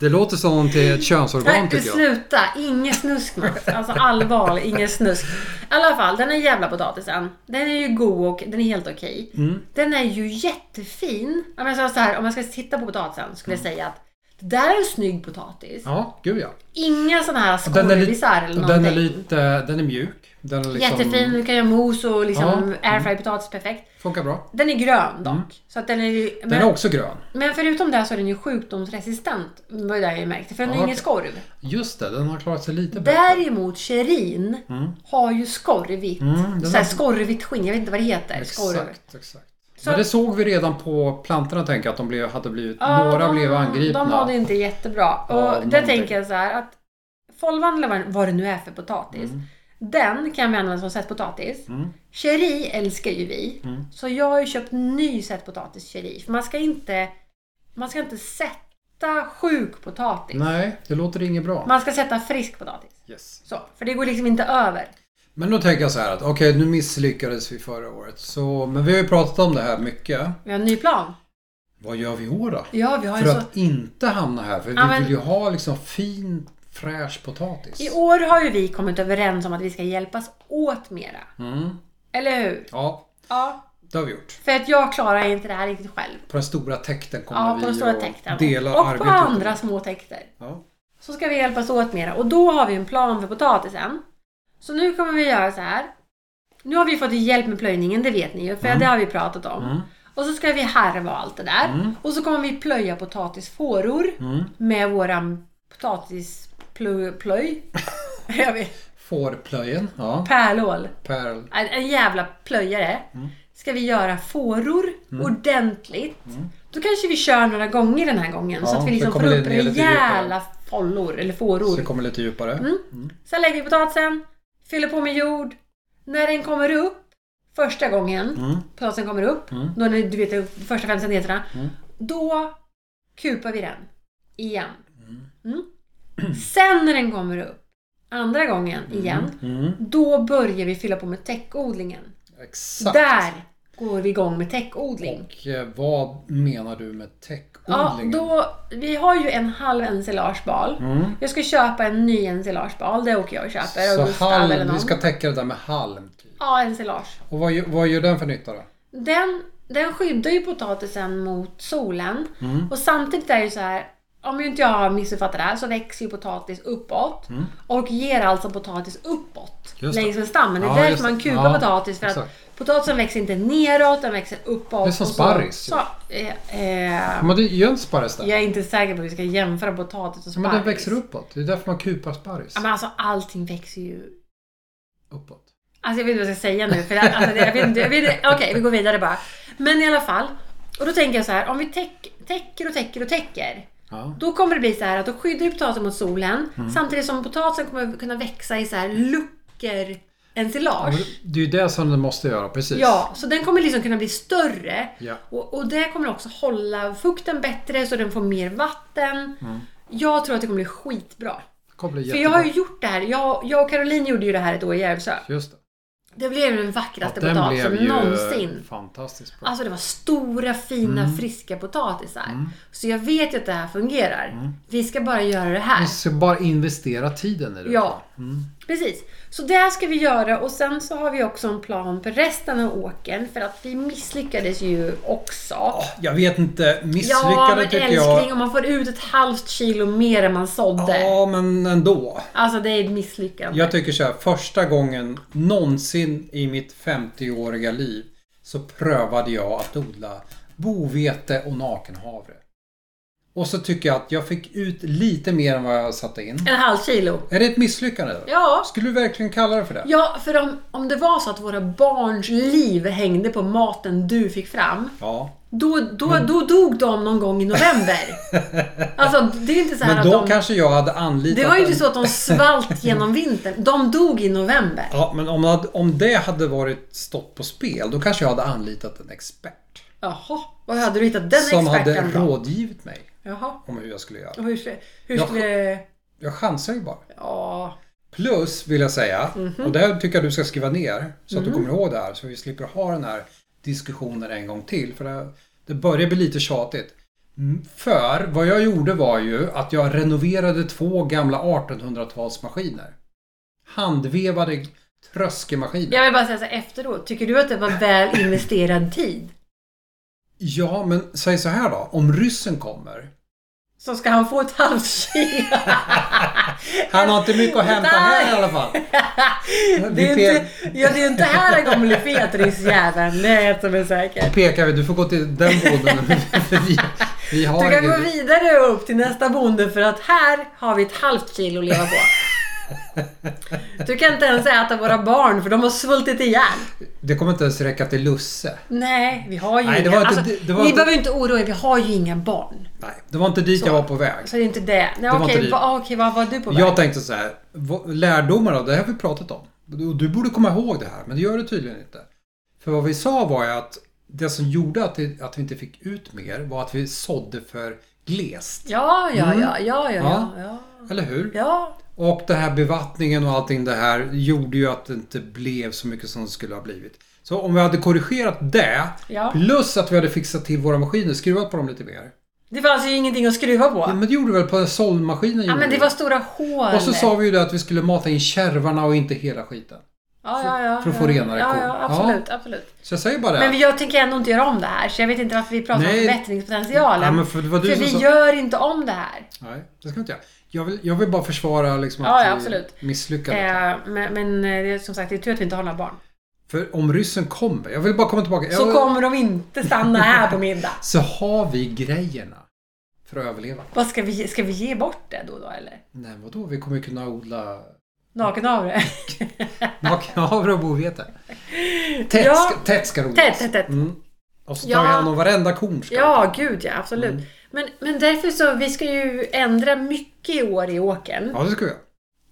Speaker 1: Det låter som till ett könsorgan
Speaker 2: Nej,
Speaker 1: tycker jag.
Speaker 2: sluta! Ingen snusk Mats. Alltså allvar, ingen snusk. I alla fall, den här jävla potatisen. Den är ju god och den är helt okej.
Speaker 1: Mm.
Speaker 2: Den är ju jättefin. Om jag, sa så här, om jag ska titta på potatisen skulle jag säga att det där är en snygg potatis.
Speaker 1: Mm. Ja, gud ja.
Speaker 2: Inga sådana här
Speaker 1: Och Den är, li-
Speaker 2: skolvisar
Speaker 1: och
Speaker 2: eller någonting.
Speaker 1: den är lite, den är mjuk. Den är liksom,
Speaker 2: Jättefin, du kan göra mos och liksom
Speaker 1: Ja.
Speaker 2: airfry potatis perfekt.
Speaker 1: Funkar bra.
Speaker 2: Den är grön dock.
Speaker 1: Mm.
Speaker 2: Så att den är, ju- men,
Speaker 1: Den är också grön.
Speaker 2: men förutom det så är den ju sjukdomsresistent. Det var ju det jag märkte. För den
Speaker 1: Ja,
Speaker 2: har ingen
Speaker 1: okej.
Speaker 2: skorv.
Speaker 1: Just det, den har klarat sig lite bättre.
Speaker 2: Däremot cherin har ju skorvigt.
Speaker 1: Mm, den
Speaker 2: så här,
Speaker 1: har-
Speaker 2: skorvigt skinn. Jag vet inte vad det heter. Skorv.
Speaker 1: Exakt, exakt.
Speaker 2: Så-
Speaker 1: Men det såg vi redan på plantorna tänker jag att de blev, hade blivit,
Speaker 2: Ja,
Speaker 1: några
Speaker 2: de-
Speaker 1: blev angripna.
Speaker 2: De mådde inte jättebra. Och där
Speaker 1: någonting.
Speaker 2: tänker jag så här att folvan eller vad den- vad det nu är för potatis. Den kan vi använda som sättpotatis.
Speaker 1: Mm.
Speaker 2: Cheri älskar ju vi.
Speaker 1: Mm.
Speaker 2: Så jag har ju köpt ny sättpotatis cheri. För man ska inte, man ska inte sätta sjuk potatis.
Speaker 1: Nej, det låter inget bra.
Speaker 2: Man ska sätta frisk potatis.
Speaker 1: Yes.
Speaker 2: Så, för det går liksom inte över.
Speaker 1: Men då tänker jag så här att okej, nu misslyckades vi förra året. Så, men vi har ju pratat om det här mycket.
Speaker 2: Vi har en ny plan.
Speaker 1: Vad gör vi i år då?
Speaker 2: Ja, vi har ju
Speaker 1: För
Speaker 2: så...
Speaker 1: att inte hamna här. För vi
Speaker 2: Ja, men-
Speaker 1: vill ju ha liksom fin, fräsch potatis.
Speaker 2: I år har ju vi kommit överens om att vi ska hjälpas åt mera.
Speaker 1: Mm.
Speaker 2: Eller hur?
Speaker 1: Ja,
Speaker 2: Ja.
Speaker 1: det har vi gjort.
Speaker 2: För att jag klarar inte det här riktigt själv.
Speaker 1: På den stora täkten kommer
Speaker 2: Ja,
Speaker 1: vi
Speaker 2: på den stora
Speaker 1: att
Speaker 2: täkten.
Speaker 1: dela
Speaker 2: Och på
Speaker 1: arbetet.
Speaker 2: andra små täkter.
Speaker 1: Ja.
Speaker 2: Så ska vi hjälpas åt mera. Och då har vi en plan för potatisen. Så nu kommer vi göra så här. Nu har vi fått hjälp med plöjningen, det vet ni ju. För det har vi pratat om.
Speaker 1: Mm.
Speaker 2: Och så ska vi harva allt det där. Och så kommer vi plöja potatisfåror
Speaker 1: Mm.
Speaker 2: med våran potatisplöj. Jag vet.
Speaker 1: Fårplöjen. Ja.
Speaker 2: Pärlål.
Speaker 1: Pärl.
Speaker 2: en, en jävla plöjare.
Speaker 1: Mm.
Speaker 2: Ska vi göra fåror ordentligt. Då kanske vi kör några gånger den här gången.
Speaker 1: Mm.
Speaker 2: så
Speaker 1: Ja,
Speaker 2: att vi
Speaker 1: det
Speaker 2: liksom får
Speaker 1: kommer
Speaker 2: upp
Speaker 1: ner lite
Speaker 2: rejäla follor, eller
Speaker 1: Så
Speaker 2: fåror.
Speaker 1: det kommer lite djupare.
Speaker 2: Mm.
Speaker 1: Mm.
Speaker 2: Sen lägger vi potatisen, fyller på med jord. När den kommer upp, första gången
Speaker 1: Mm.
Speaker 2: potatisen kommer upp,
Speaker 1: Mm.
Speaker 2: då när du vet de första fem centimeterna,
Speaker 1: Mm.
Speaker 2: då kupar vi den igen. Mm. Sen när den kommer upp, andra gången igen,
Speaker 1: Mm.
Speaker 2: då börjar vi fylla på med täckodlingen.
Speaker 1: Exakt.
Speaker 2: Där går vi igång med täckodling.
Speaker 1: Och eh, vad menar du med
Speaker 2: Ja,
Speaker 1: täckodlingen?
Speaker 2: då, vi har ju en halv ensilagebal.
Speaker 1: Mm.
Speaker 2: Jag ska köpa en ny ensilagebal, det åker jag och köper. och
Speaker 1: Så
Speaker 2: Gustav eller
Speaker 1: halm,
Speaker 2: någon.
Speaker 1: vi ska täcka det där med halm. Typ.
Speaker 2: Ja, ensilage.
Speaker 1: Och vad, gör- vad gör den för nytta då?
Speaker 2: Den, den skyddar ju potatisen mot solen.
Speaker 1: Mm.
Speaker 2: Och samtidigt är det ju så här, om ju inte jag har missuppfattat det här, så växer ju potatis uppåt. Och ger alltså potatis uppåt
Speaker 1: Mm. Just det.
Speaker 2: längs med stammen. Det är
Speaker 1: Ja,
Speaker 2: därför
Speaker 1: just det.
Speaker 2: man kupar
Speaker 1: Ja,
Speaker 2: potatis. För
Speaker 1: exakt.
Speaker 2: att potatisen växer inte neråt, den växer uppåt.
Speaker 1: Det är som
Speaker 2: och så-
Speaker 1: sparris,
Speaker 2: Så, eh, eh,
Speaker 1: Men det är ju en sparris där.
Speaker 2: Jag är inte säker på hur vi ska jämföra potatis och
Speaker 1: Ja,
Speaker 2: sparris.
Speaker 1: Men den växer uppåt. Det är därför man kupar sparris.
Speaker 2: Ja, men alltså allting växer ju...
Speaker 1: Uppåt.
Speaker 2: Alltså jag vet inte vad jag ska säga nu. För att, alltså, det, jag vet inte, jag vet, inte- okej, vi går vidare bara. Men i alla fall. Och då tänker jag så här, om vi täck, täcker och täcker och täcker.
Speaker 1: Ja.
Speaker 2: Då kommer det bli så här att då skyddar ju potatisen mot solen.
Speaker 1: Mm.
Speaker 2: Samtidigt som potatisen kommer kunna växa i så här luckor
Speaker 1: Ja, men
Speaker 2: ensilage.
Speaker 1: Det är ju det som den måste göra, precis.
Speaker 2: Ja, så den kommer liksom kunna bli större.
Speaker 1: Ja.
Speaker 2: Och, och det kommer också hålla fukten bättre så den får mer vatten.
Speaker 1: Mm.
Speaker 2: Jag tror att det kommer bli skitbra.
Speaker 1: Det kommer bli
Speaker 2: För
Speaker 1: jättebra.
Speaker 2: jag har ju gjort det här. Jag, jag och Caroline gjorde ju det här ett år i Järvsö.
Speaker 1: Just det.
Speaker 2: Det blev ju den vackraste
Speaker 1: den
Speaker 2: potatisen
Speaker 1: blev ju
Speaker 2: någonsin.
Speaker 1: fantastiskt bra.
Speaker 2: Alltså det var stora, fina,
Speaker 1: Mm.
Speaker 2: friska potatisar. Så jag vet ju att det här fungerar.
Speaker 1: Mm.
Speaker 2: Vi ska bara göra det här.
Speaker 1: Vi ska Alltså, bara investera tiden i det. Mm.
Speaker 2: Ja, precis. Så det ska vi göra och sen så har vi också en plan för resten av åkern för att vi misslyckades ju också.
Speaker 1: Jag vet inte, misslyckade
Speaker 2: ja, men
Speaker 1: tycker
Speaker 2: älskling,
Speaker 1: jag.
Speaker 2: om man får ut ett halvt kilo mer än man sådde.
Speaker 1: Ja, men ändå.
Speaker 2: Alltså det är ett misslyckande.
Speaker 1: Jag tycker så här, första gången någonsin i mitt 50-åriga liv så prövade jag att odla bovete och nakenhavre. Och så tycker jag att jag fick ut lite mer än vad jag satte in.
Speaker 2: En halv kilo.
Speaker 1: Är det ett misslyckande? då?
Speaker 2: Ja,
Speaker 1: Skulle du verkligen kalla det för det?
Speaker 2: Ja, för om, om det var så att våra barns liv hängde på maten du fick fram,
Speaker 1: Ja.
Speaker 2: då, då, då dog de någon gång i november. Alltså, det är inte så här
Speaker 1: Men då
Speaker 2: att de...
Speaker 1: kanske jag hade anlitat...
Speaker 2: Det var ju inte
Speaker 1: en-
Speaker 2: så att de svalt genom vintern. De dog i november.
Speaker 1: Ja, men om, hade- om det hade varit stått på spel, då kanske jag hade anlitat en expert.
Speaker 2: Jaha, var hade du hittat den
Speaker 1: som
Speaker 2: experten
Speaker 1: hade
Speaker 2: då?
Speaker 1: rådgivit mig.
Speaker 2: Jaha.
Speaker 1: om hur jag skulle göra.
Speaker 2: Och hur, skulle- hur
Speaker 1: Jag-
Speaker 2: skulle...
Speaker 1: Jag chansar ju bara.
Speaker 2: Ja.
Speaker 1: Plus vill jag säga, och det här tycker jag du ska skriva ner så att du kommer ihåg det här så vi slipper ha den här diskussionen en gång till. För det, det börjar bli lite tjatigt. Mm, För vad jag gjorde var ju att jag renoverade två gamla 1800-talsmaskiner. Handvevade tröskemaskiner.
Speaker 2: Jag vill bara säga så här efteråt. Tycker du att det var väl investerad tid?
Speaker 1: Ja, men säg så här då. Om ryssen kommer.
Speaker 2: Så ska han få ett halvt kilo.
Speaker 1: Han har inte mycket att hämta här i alla fall.
Speaker 2: Det är
Speaker 1: Vi
Speaker 2: inte, ja, det är inte här han kommer bli fet, ryssjäveln. Det är ett som är säkert.
Speaker 1: Pekar vi, du får gå till den boden. för vi, vi har
Speaker 2: Du kan
Speaker 1: inget-
Speaker 2: gå vidare upp till nästa bonde för att här har vi ett halvt kilo att leva på. Du kan inte ens äta våra barn för de har svultit ihjäl.
Speaker 1: Det kommer inte ens räcka till Lusse.
Speaker 2: Nej, vi har ju
Speaker 1: Nej, det
Speaker 2: inga.
Speaker 1: var inte-
Speaker 2: alltså,
Speaker 1: det- det var
Speaker 2: ni
Speaker 1: inte-
Speaker 2: behöver ju inte oroa er, vi har ju inga barn.
Speaker 1: Nej, det var inte dit jag var på väg.
Speaker 2: Så det är inte det. Nej,
Speaker 1: var inte
Speaker 2: okej,
Speaker 1: vi.
Speaker 2: va, okej, vad var du på väg?
Speaker 1: Jag tänkte så här, vad- lärdomar av det här har vi pratat om. Du, du borde komma ihåg det här, men det gör du tydligen inte. För vad vi sa var ju att det som gjorde att, det, att vi inte fick ut mer var att vi sådde för glest.
Speaker 2: Ja, ja,
Speaker 1: Mm.
Speaker 2: ja, ja, ja, ja, ja.
Speaker 1: Eller hur?
Speaker 2: Ja,
Speaker 1: Och det här bevattningen och allting det här gjorde ju att det inte blev så mycket som det skulle ha blivit. Så om vi hade korrigerat det,
Speaker 2: Ja.
Speaker 1: plus att vi hade fixat till våra maskiner, skruvat på dem lite mer.
Speaker 2: det fanns ju ingenting att skruva på.
Speaker 1: Ja, men det gjorde vi väl på sållmaskinen?
Speaker 2: Ja,
Speaker 1: gjorde
Speaker 2: men
Speaker 1: vi.
Speaker 2: det var stora hål.
Speaker 1: Mm. Och så sa vi ju det att vi skulle mata in kärvarna och inte hela skiten.
Speaker 2: ja, ja, ja,
Speaker 1: för att
Speaker 2: ja.
Speaker 1: få renare
Speaker 2: Ja,
Speaker 1: kor.
Speaker 2: ja, absolut, absolut.
Speaker 1: Så jag säger bara det.
Speaker 2: Men jag tänker ändå inte göra om det här, så jag vet inte varför vi pratar
Speaker 1: Nej.
Speaker 2: om förbättringspotentialen.
Speaker 1: Ja, men för det var du
Speaker 2: för
Speaker 1: som
Speaker 2: vi
Speaker 1: sa-
Speaker 2: gör inte om det här.
Speaker 1: Nej, det ska vi inte göra. Jag vill, jag vill bara försvara liksom
Speaker 2: Ja,
Speaker 1: att
Speaker 2: ja,
Speaker 1: vi
Speaker 2: absolut.
Speaker 1: misslyckades.
Speaker 2: Eh, men men eh, det är, som sagt, det är tur att vi inte har några barn.
Speaker 1: För om ryssen kommer, jag vill bara komma tillbaka.
Speaker 2: Så
Speaker 1: jag,
Speaker 2: kommer de inte stanna här på middag.
Speaker 1: så har vi grejerna för att överleva.
Speaker 2: Vad ska vi, ge- ska vi ge bort det då, då eller?
Speaker 1: Nej, vadå? Vi kommer ju kunna odla
Speaker 2: Nakenhavre?
Speaker 1: makavre och bovete. Tätt,
Speaker 2: Ja.
Speaker 1: ska- tätt ska det odlas.
Speaker 2: Tätt, tätt, tätt.
Speaker 1: Mm. Och så tar
Speaker 2: Ja.
Speaker 1: vi hand om varenda korn. Ska vi.
Speaker 2: Ja, gud ja, absolut.
Speaker 1: Mm.
Speaker 2: Men, men därför så, vi ska ju ändra mycket i år i åkern.
Speaker 1: ja, det ska vi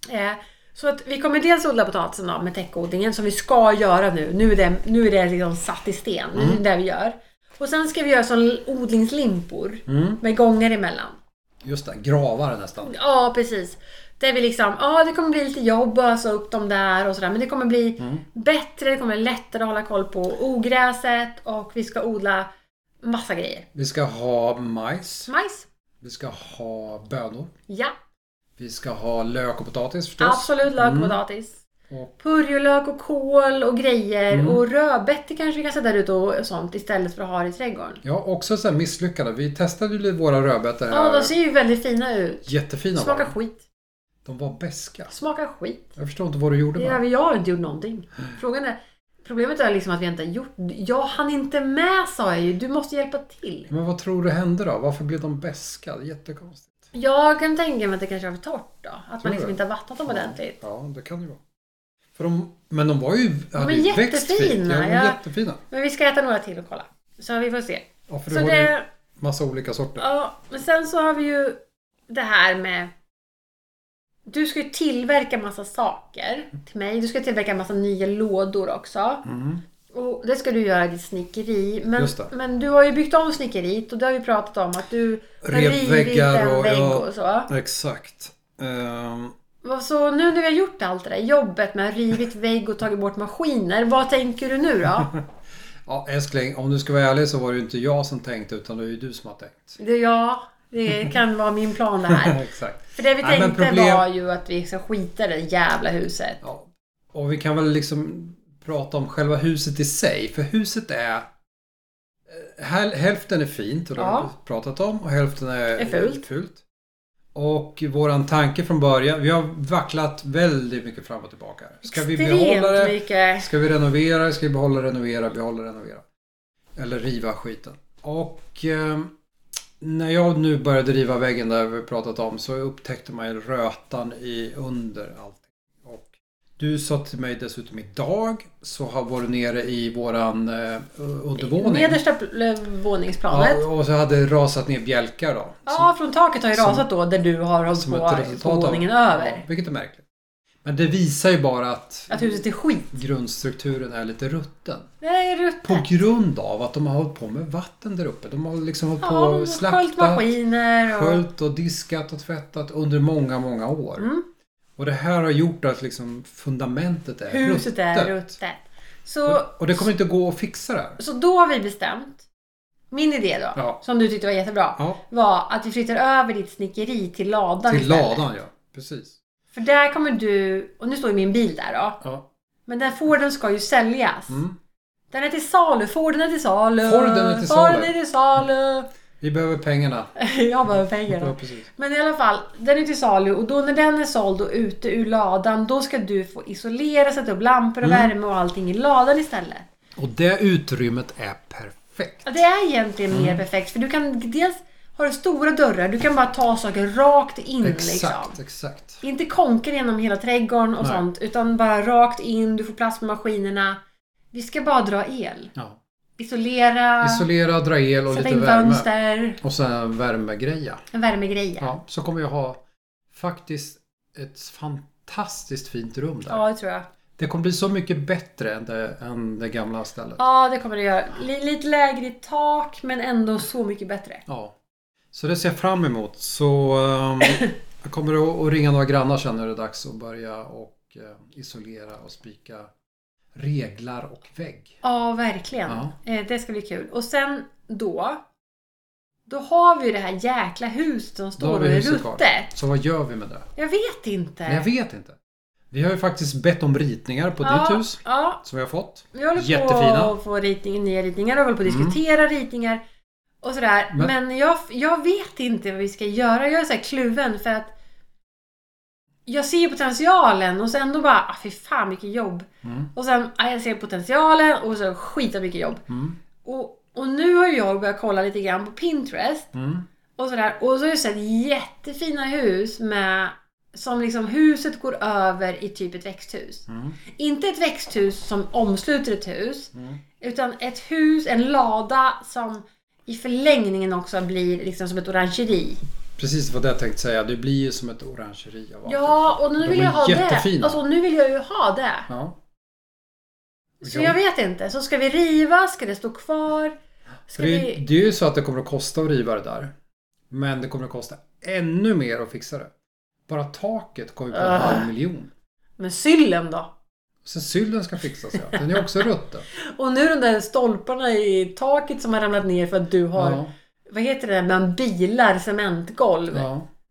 Speaker 1: göra.
Speaker 2: Eh, Så att vi kommer dels odla potatisen då, med täckodlingen som vi ska göra nu. Nu är det, nu är det liksom satt i sten. Nu är det det vi gör. Och sen ska vi göra som odlingslimpor
Speaker 1: Mm.
Speaker 2: med gångar emellan.
Speaker 1: Just det, gravar nästan.
Speaker 2: Ja, precis. Där vi liksom, ja det kommer bli lite jobb att ösa upp dem där och sådär. Men det kommer bli bättre, det kommer bli lättare att hålla koll på ogräset och vi ska odla massa grejer.
Speaker 1: Vi ska ha majs.
Speaker 2: Majs?
Speaker 1: Vi ska ha bönor.
Speaker 2: Ja,
Speaker 1: Vi ska ha lök och potatis förstås.
Speaker 2: absolut lök och potatis.
Speaker 1: Mm. Och- Mm.
Speaker 2: Purjolök och kål och grejer och rödbetor kanske vi kan sätta ut och sånt istället för att ha det i trädgården.
Speaker 1: Ja, också så här misslyckade. Vi testade ju våra rödbetor här.
Speaker 2: Ja, de ser ju väldigt fina ut.
Speaker 1: Jättefina var
Speaker 2: Smakar
Speaker 1: de.
Speaker 2: skit.
Speaker 1: De var beska.
Speaker 2: Smakar skit.
Speaker 1: Jag förstår inte vad du gjorde
Speaker 2: Det
Speaker 1: med
Speaker 2: gör
Speaker 1: dem.
Speaker 2: vi. Jag har inte gjort någonting. Frågan är, problemet är liksom att vi inte har gjort... Jag hann inte med sa jag ju. Du måste hjälpa till.
Speaker 1: Men vad tror du hände då? Varför blev de beska? Det är Jättekonstigt.
Speaker 2: Jag kan tänka mig att det kanske har varit torrt då. Att
Speaker 1: Tror
Speaker 2: man
Speaker 1: du?
Speaker 2: liksom inte har vattnat dem ordentligt.
Speaker 1: Ja, det kan det ju vara. För de, men de var ju... De
Speaker 2: är jättefina,
Speaker 1: Ja, de är
Speaker 2: ja.
Speaker 1: jättefina.
Speaker 2: Men vi ska äta några till och kolla. Så vi får se.
Speaker 1: Ja, för det
Speaker 2: Så
Speaker 1: var ju
Speaker 2: det...
Speaker 1: massa olika sorter.
Speaker 2: Ja, men sen så har vi ju det här med... Du ska ju tillverka massa saker till mig. Du ska tillverka massa nya lådor också.
Speaker 1: Mm.
Speaker 2: Och det ska du göra i ditt snickeri. Men,
Speaker 1: Just det.
Speaker 2: men du har ju byggt om snickeriet och det har vi pratat om att du har
Speaker 1: Rev
Speaker 2: rivit
Speaker 1: väggar
Speaker 2: en
Speaker 1: och-
Speaker 2: vägg
Speaker 1: ja.
Speaker 2: och så.
Speaker 1: Exakt. Ehm,
Speaker 2: Vad- Så nu när vi har gjort allt det där jobbet med rivit vägg och tagit bort maskiner. Vad tänker du nu då?
Speaker 1: ja, älskling, om du ska vara ärlig så var det ju inte jag som tänkte utan det är ju du som har tänkt.
Speaker 2: Det, ja, det kan vara min plan det här.
Speaker 1: Exakt.
Speaker 2: För det vi
Speaker 1: Nej, men
Speaker 2: tänkte
Speaker 1: problem-
Speaker 2: var ju att vi ska skita i det jävla huset.
Speaker 1: Ja. Och vi kan väl liksom prata om själva huset i sig. För huset är... eh, häl- Hälften är fint, och det har
Speaker 2: Ja.
Speaker 1: vi pratat om, och hälften är,
Speaker 2: Är fult.
Speaker 1: Och våran tanke från början, vi har vacklat väldigt mycket fram och tillbaka. Ska vi
Speaker 2: Extremt
Speaker 1: behålla det?
Speaker 2: mycket.
Speaker 1: Ska vi renovera? det? Ska vi behålla, renovera, behålla, renovera? Eller riva skiten. Och eh, när jag nu började riva väggen där vi pratat om så upptäckte man ju rötan i under allt. Och du sa till mig dessutom idag så har varit nere i våran eh, undervåning.
Speaker 2: Nedersta pl- eh, våningsplanet.
Speaker 1: ja,
Speaker 2: Ja,
Speaker 1: och så hade det rasat ner bjälkar då.
Speaker 2: från taket har ju
Speaker 1: som-
Speaker 2: rasat då där du har hållit
Speaker 1: som
Speaker 2: på
Speaker 1: ett resultat av...
Speaker 2: våningen
Speaker 1: Ja,
Speaker 2: över.
Speaker 1: vilket är märkligt. Men det visar ju bara att
Speaker 2: Att huset är skit.
Speaker 1: grundstrukturen är lite rutten.
Speaker 2: Nej, rutt.
Speaker 1: På grund av att de har hållit på med vatten där uppe. De har liksom hållit på
Speaker 2: Ja,
Speaker 1: och
Speaker 2: sköljt
Speaker 1: slaktat,
Speaker 2: maskiner och...
Speaker 1: sköljt och diskat och tvättat under många, många år.
Speaker 2: Mm.
Speaker 1: Och det här har gjort att liksom fundamentet är
Speaker 2: Huset är
Speaker 1: ruttet.
Speaker 2: ruttet. Så,
Speaker 1: Och det kommer inte gå att fixa det här.
Speaker 2: så då har vi bestämt. Min idé då,
Speaker 1: Ja.
Speaker 2: som du tyckte var jättebra,
Speaker 1: Ja,
Speaker 2: var att vi flyttar över ditt snickeri till ladan
Speaker 1: till
Speaker 2: istället.
Speaker 1: ladan ja. Precis.
Speaker 2: För där kommer du, och nu står ju min bil där då,
Speaker 1: Ja.
Speaker 2: men den Forden ska ju säljas.
Speaker 1: Mm.
Speaker 2: Den är till salu, Forden är till salu,
Speaker 1: Forden är till
Speaker 2: Forden
Speaker 1: salu.
Speaker 2: är till salu.
Speaker 1: Vi behöver pengarna.
Speaker 2: Jag behöver
Speaker 1: Ja,
Speaker 2: pengar.
Speaker 1: precis.
Speaker 2: Men i alla fall, den är till salu och då när den är såld och ute ur ladan, då ska du få isolera, sätta upp lampor och
Speaker 1: Mm.
Speaker 2: värme och allting i ladan istället.
Speaker 1: Och det utrymmet är perfekt.
Speaker 2: Ja, det är egentligen
Speaker 1: Mm.
Speaker 2: mer perfekt för du kan dels har du stora dörrar, du kan bara ta saker rakt in liksom.
Speaker 1: Exakt, exakt.
Speaker 2: Inte konka genom hela trädgården och
Speaker 1: Nej.
Speaker 2: sånt, utan bara rakt in, du får plats med maskinerna. Vi ska bara dra el.
Speaker 1: Ja.
Speaker 2: Isolera,
Speaker 1: Isolera, dra el och
Speaker 2: sätta
Speaker 1: lite
Speaker 2: in
Speaker 1: värme.
Speaker 2: fönster,
Speaker 1: Och sen värmegreja.
Speaker 2: en värmegreja. Ja.
Speaker 1: Ja, så kommer jag ha faktiskt ett fantastiskt fint rum där.
Speaker 2: det tror jag.
Speaker 1: Det kommer bli så mycket bättre än det, än det gamla stället.
Speaker 2: Ja, det kommer det göra. Li- lite lägre i tak, men ändå så mycket bättre.
Speaker 1: Ja. Så det ser jag fram emot. Så ehm, jag kommer att- att ringa några grannar sen när det är dags att börja och eh, isolera och spika reglar och vägg.
Speaker 2: Ja, verkligen.
Speaker 1: Ja.
Speaker 2: Eh, det ska bli kul. Och sen då, då har vi ju det här jäkla huset som
Speaker 1: Då har
Speaker 2: står
Speaker 1: vi
Speaker 2: och är
Speaker 1: huset kvar.
Speaker 2: ruttet.
Speaker 1: Så vad gör vi med det?
Speaker 2: Jag vet inte.
Speaker 1: Nej, jag vet inte. Vi har ju faktiskt bett om ritningar på
Speaker 2: ja,
Speaker 1: ditt hus
Speaker 2: Ja,
Speaker 1: som vi har fått.
Speaker 2: vi håller
Speaker 1: Jättefina. Mm.
Speaker 2: på att få ritning, nya ritningar och håller på att diskutera ritningar och sådär.
Speaker 1: Men-
Speaker 2: Men, jag, jag vet inte vad vi ska göra. Jag är såhär kluven för att jag ser ju potentialen och sen då bara, ah, fy fan mycket jobb.
Speaker 1: Mm.
Speaker 2: Och sen, ah, jag ser potentialen och så skita mycket jobb.
Speaker 1: Mm.
Speaker 2: Och, och nu har jag börjat kolla lite grann på Pinterest
Speaker 1: Mm.
Speaker 2: och sådär. Och så har jag sett jättefina hus med som liksom huset går över i typ ett växthus.
Speaker 1: Mm.
Speaker 2: Inte ett växthus som omsluter ett hus.
Speaker 1: Mm.
Speaker 2: Utan ett hus, en lada som i förlängningen också blir liksom som ett orangeri.
Speaker 1: Precis vad jag tänkte säga. Det blir ju som ett orangeri av allt.
Speaker 2: Ja, och
Speaker 1: De
Speaker 2: nu vill
Speaker 1: är
Speaker 2: jag ha det.
Speaker 1: jättefina.
Speaker 2: Alltså nu vill jag ju ha det.
Speaker 1: ja.
Speaker 2: Så
Speaker 1: Ja.
Speaker 2: jag vet inte. Så ska vi riva? Ska det stå kvar?
Speaker 1: För
Speaker 2: Ska
Speaker 1: det,
Speaker 2: vi...
Speaker 1: det är ju så att det kommer att kosta att riva det där. Men det kommer att kosta ännu mer att fixa det. Bara taket kommer på en
Speaker 2: Ah.
Speaker 1: halv miljon.
Speaker 2: Men syllen då?
Speaker 1: Sen syllen ska fixas ja. Den är också rutten.
Speaker 2: Och nu de där stolparna i taket som har ramlat ner för att du har,
Speaker 1: Ja,
Speaker 2: vad heter det, man bilar cementgolv.
Speaker 1: ja.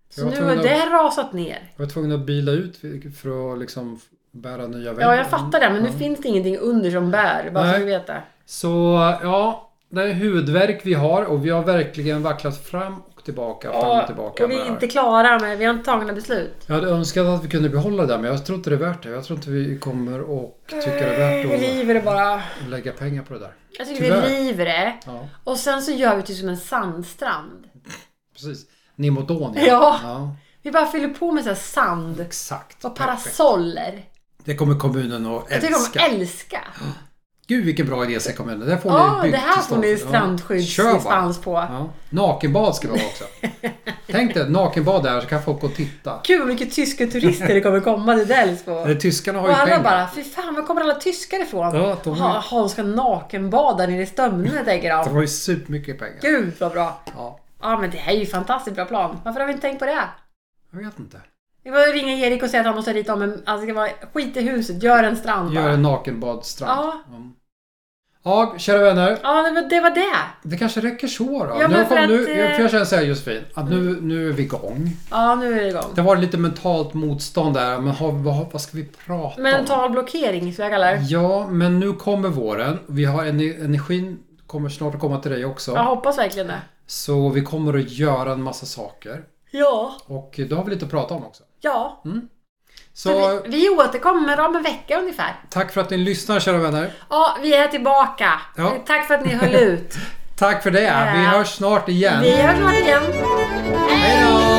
Speaker 1: Jag
Speaker 2: Så
Speaker 1: var,
Speaker 2: nu har
Speaker 1: tvungen att,
Speaker 2: det rasat ner.
Speaker 1: jag var tvungen att bila ut för att liksom bära nya väggar.
Speaker 2: Ja, jag fattar det, men nu
Speaker 1: Ja.
Speaker 2: finns det ingenting under som bär, bara så
Speaker 1: Nej.
Speaker 2: du vet det.
Speaker 1: Så ja, det är huvudvärk vi har och vi har verkligen vacklat fram och tillbaka, fram och tillbaka.
Speaker 2: och vi
Speaker 1: med det
Speaker 2: är
Speaker 1: här.
Speaker 2: inte klara med, vi har inte tagit några beslut.
Speaker 1: Jag hade önskat att vi kunde behålla det där men jag tror inte det är värt det. Jag tror inte vi kommer och tycka det är
Speaker 2: Vi
Speaker 1: värt
Speaker 2: river det bara.
Speaker 1: att lägga pengar på det där.
Speaker 2: Jag tycker
Speaker 1: Tyvärr.
Speaker 2: vi river det.
Speaker 1: Ja,
Speaker 2: Och sen så gör vi typ som en sandstrand.
Speaker 1: precis. Ni mot ja.
Speaker 2: Ja.
Speaker 1: ja.
Speaker 2: Vi bara fyller på med så här sand
Speaker 1: Exakt.
Speaker 2: och
Speaker 1: Perfekt.
Speaker 2: parasoller.
Speaker 1: Det kommer kommunen att
Speaker 2: Jag tycker
Speaker 1: älska.
Speaker 2: de älska.
Speaker 1: Gud vilken bra idé säger kommunen. Det här får
Speaker 2: Ja,
Speaker 1: ni
Speaker 2: det här får ni
Speaker 1: byggtillstånd för. Ja. Kör bara.
Speaker 2: strandskyddsdispens på.
Speaker 1: Ja. Nakenbad ska vi ha också. Tänk dig nakenbad där så kan folk gå och titta.
Speaker 2: Gud vad mycket tyska turister det kommer komma till Dels på.
Speaker 1: Eller, tyskarna har
Speaker 2: Och
Speaker 1: ju
Speaker 2: alla
Speaker 1: pengar.
Speaker 2: bara, fy fan var kommer alla tyskar ifrån?
Speaker 1: Ja, de har-
Speaker 2: Ha- Hans ska nakenbada nere i Stömne tänker
Speaker 1: De
Speaker 2: de.
Speaker 1: har ju supermycket pengar.
Speaker 2: Gud vad bra!
Speaker 1: Ja,
Speaker 2: Ja men det här är ju fantastiskt bra plan. Varför har vi inte tänkt på det?
Speaker 1: jag vet inte.
Speaker 2: Vi bara ringa Erik och säga att han måste rita om en... Alltså det ska vara skit i huset, gör en strand bara.
Speaker 1: Gör en nakenbadstrand.
Speaker 2: Ja.
Speaker 1: Mm. Ja, kära vänner.
Speaker 2: Ja det var, det var det.
Speaker 1: Det kanske räcker så då.
Speaker 2: Ja,
Speaker 1: nu
Speaker 2: men för
Speaker 1: kom, nu,
Speaker 2: att, eh, Mm.
Speaker 1: för jag känner så här Josefin, att nu, nu är vi igång.
Speaker 2: Ja nu är det igång.
Speaker 1: Det var lite mentalt motstånd där, men har, vad, vad ska vi prata om?
Speaker 2: Mental blockering skulle jag kalla det.
Speaker 1: Ja, men nu kommer våren. Vi har ener- energin, kommer snart att komma till dig också.
Speaker 2: Jag hoppas verkligen det.
Speaker 1: Så vi kommer att göra en massa saker.
Speaker 2: Ja.
Speaker 1: Och då har vi lite att prata om också.
Speaker 2: Ja.
Speaker 1: Mm. Så
Speaker 2: Så vi, vi återkommer om en vecka ungefär.
Speaker 1: tack för att ni lyssnar kära vänner.
Speaker 2: Ja, vi är tillbaka.
Speaker 1: Ja.
Speaker 2: Tack för att ni höll ut.
Speaker 1: Tack för det. Vi
Speaker 2: Ja.
Speaker 1: hörs snart igen.
Speaker 2: Vi hörs snart igen.
Speaker 1: Hej då!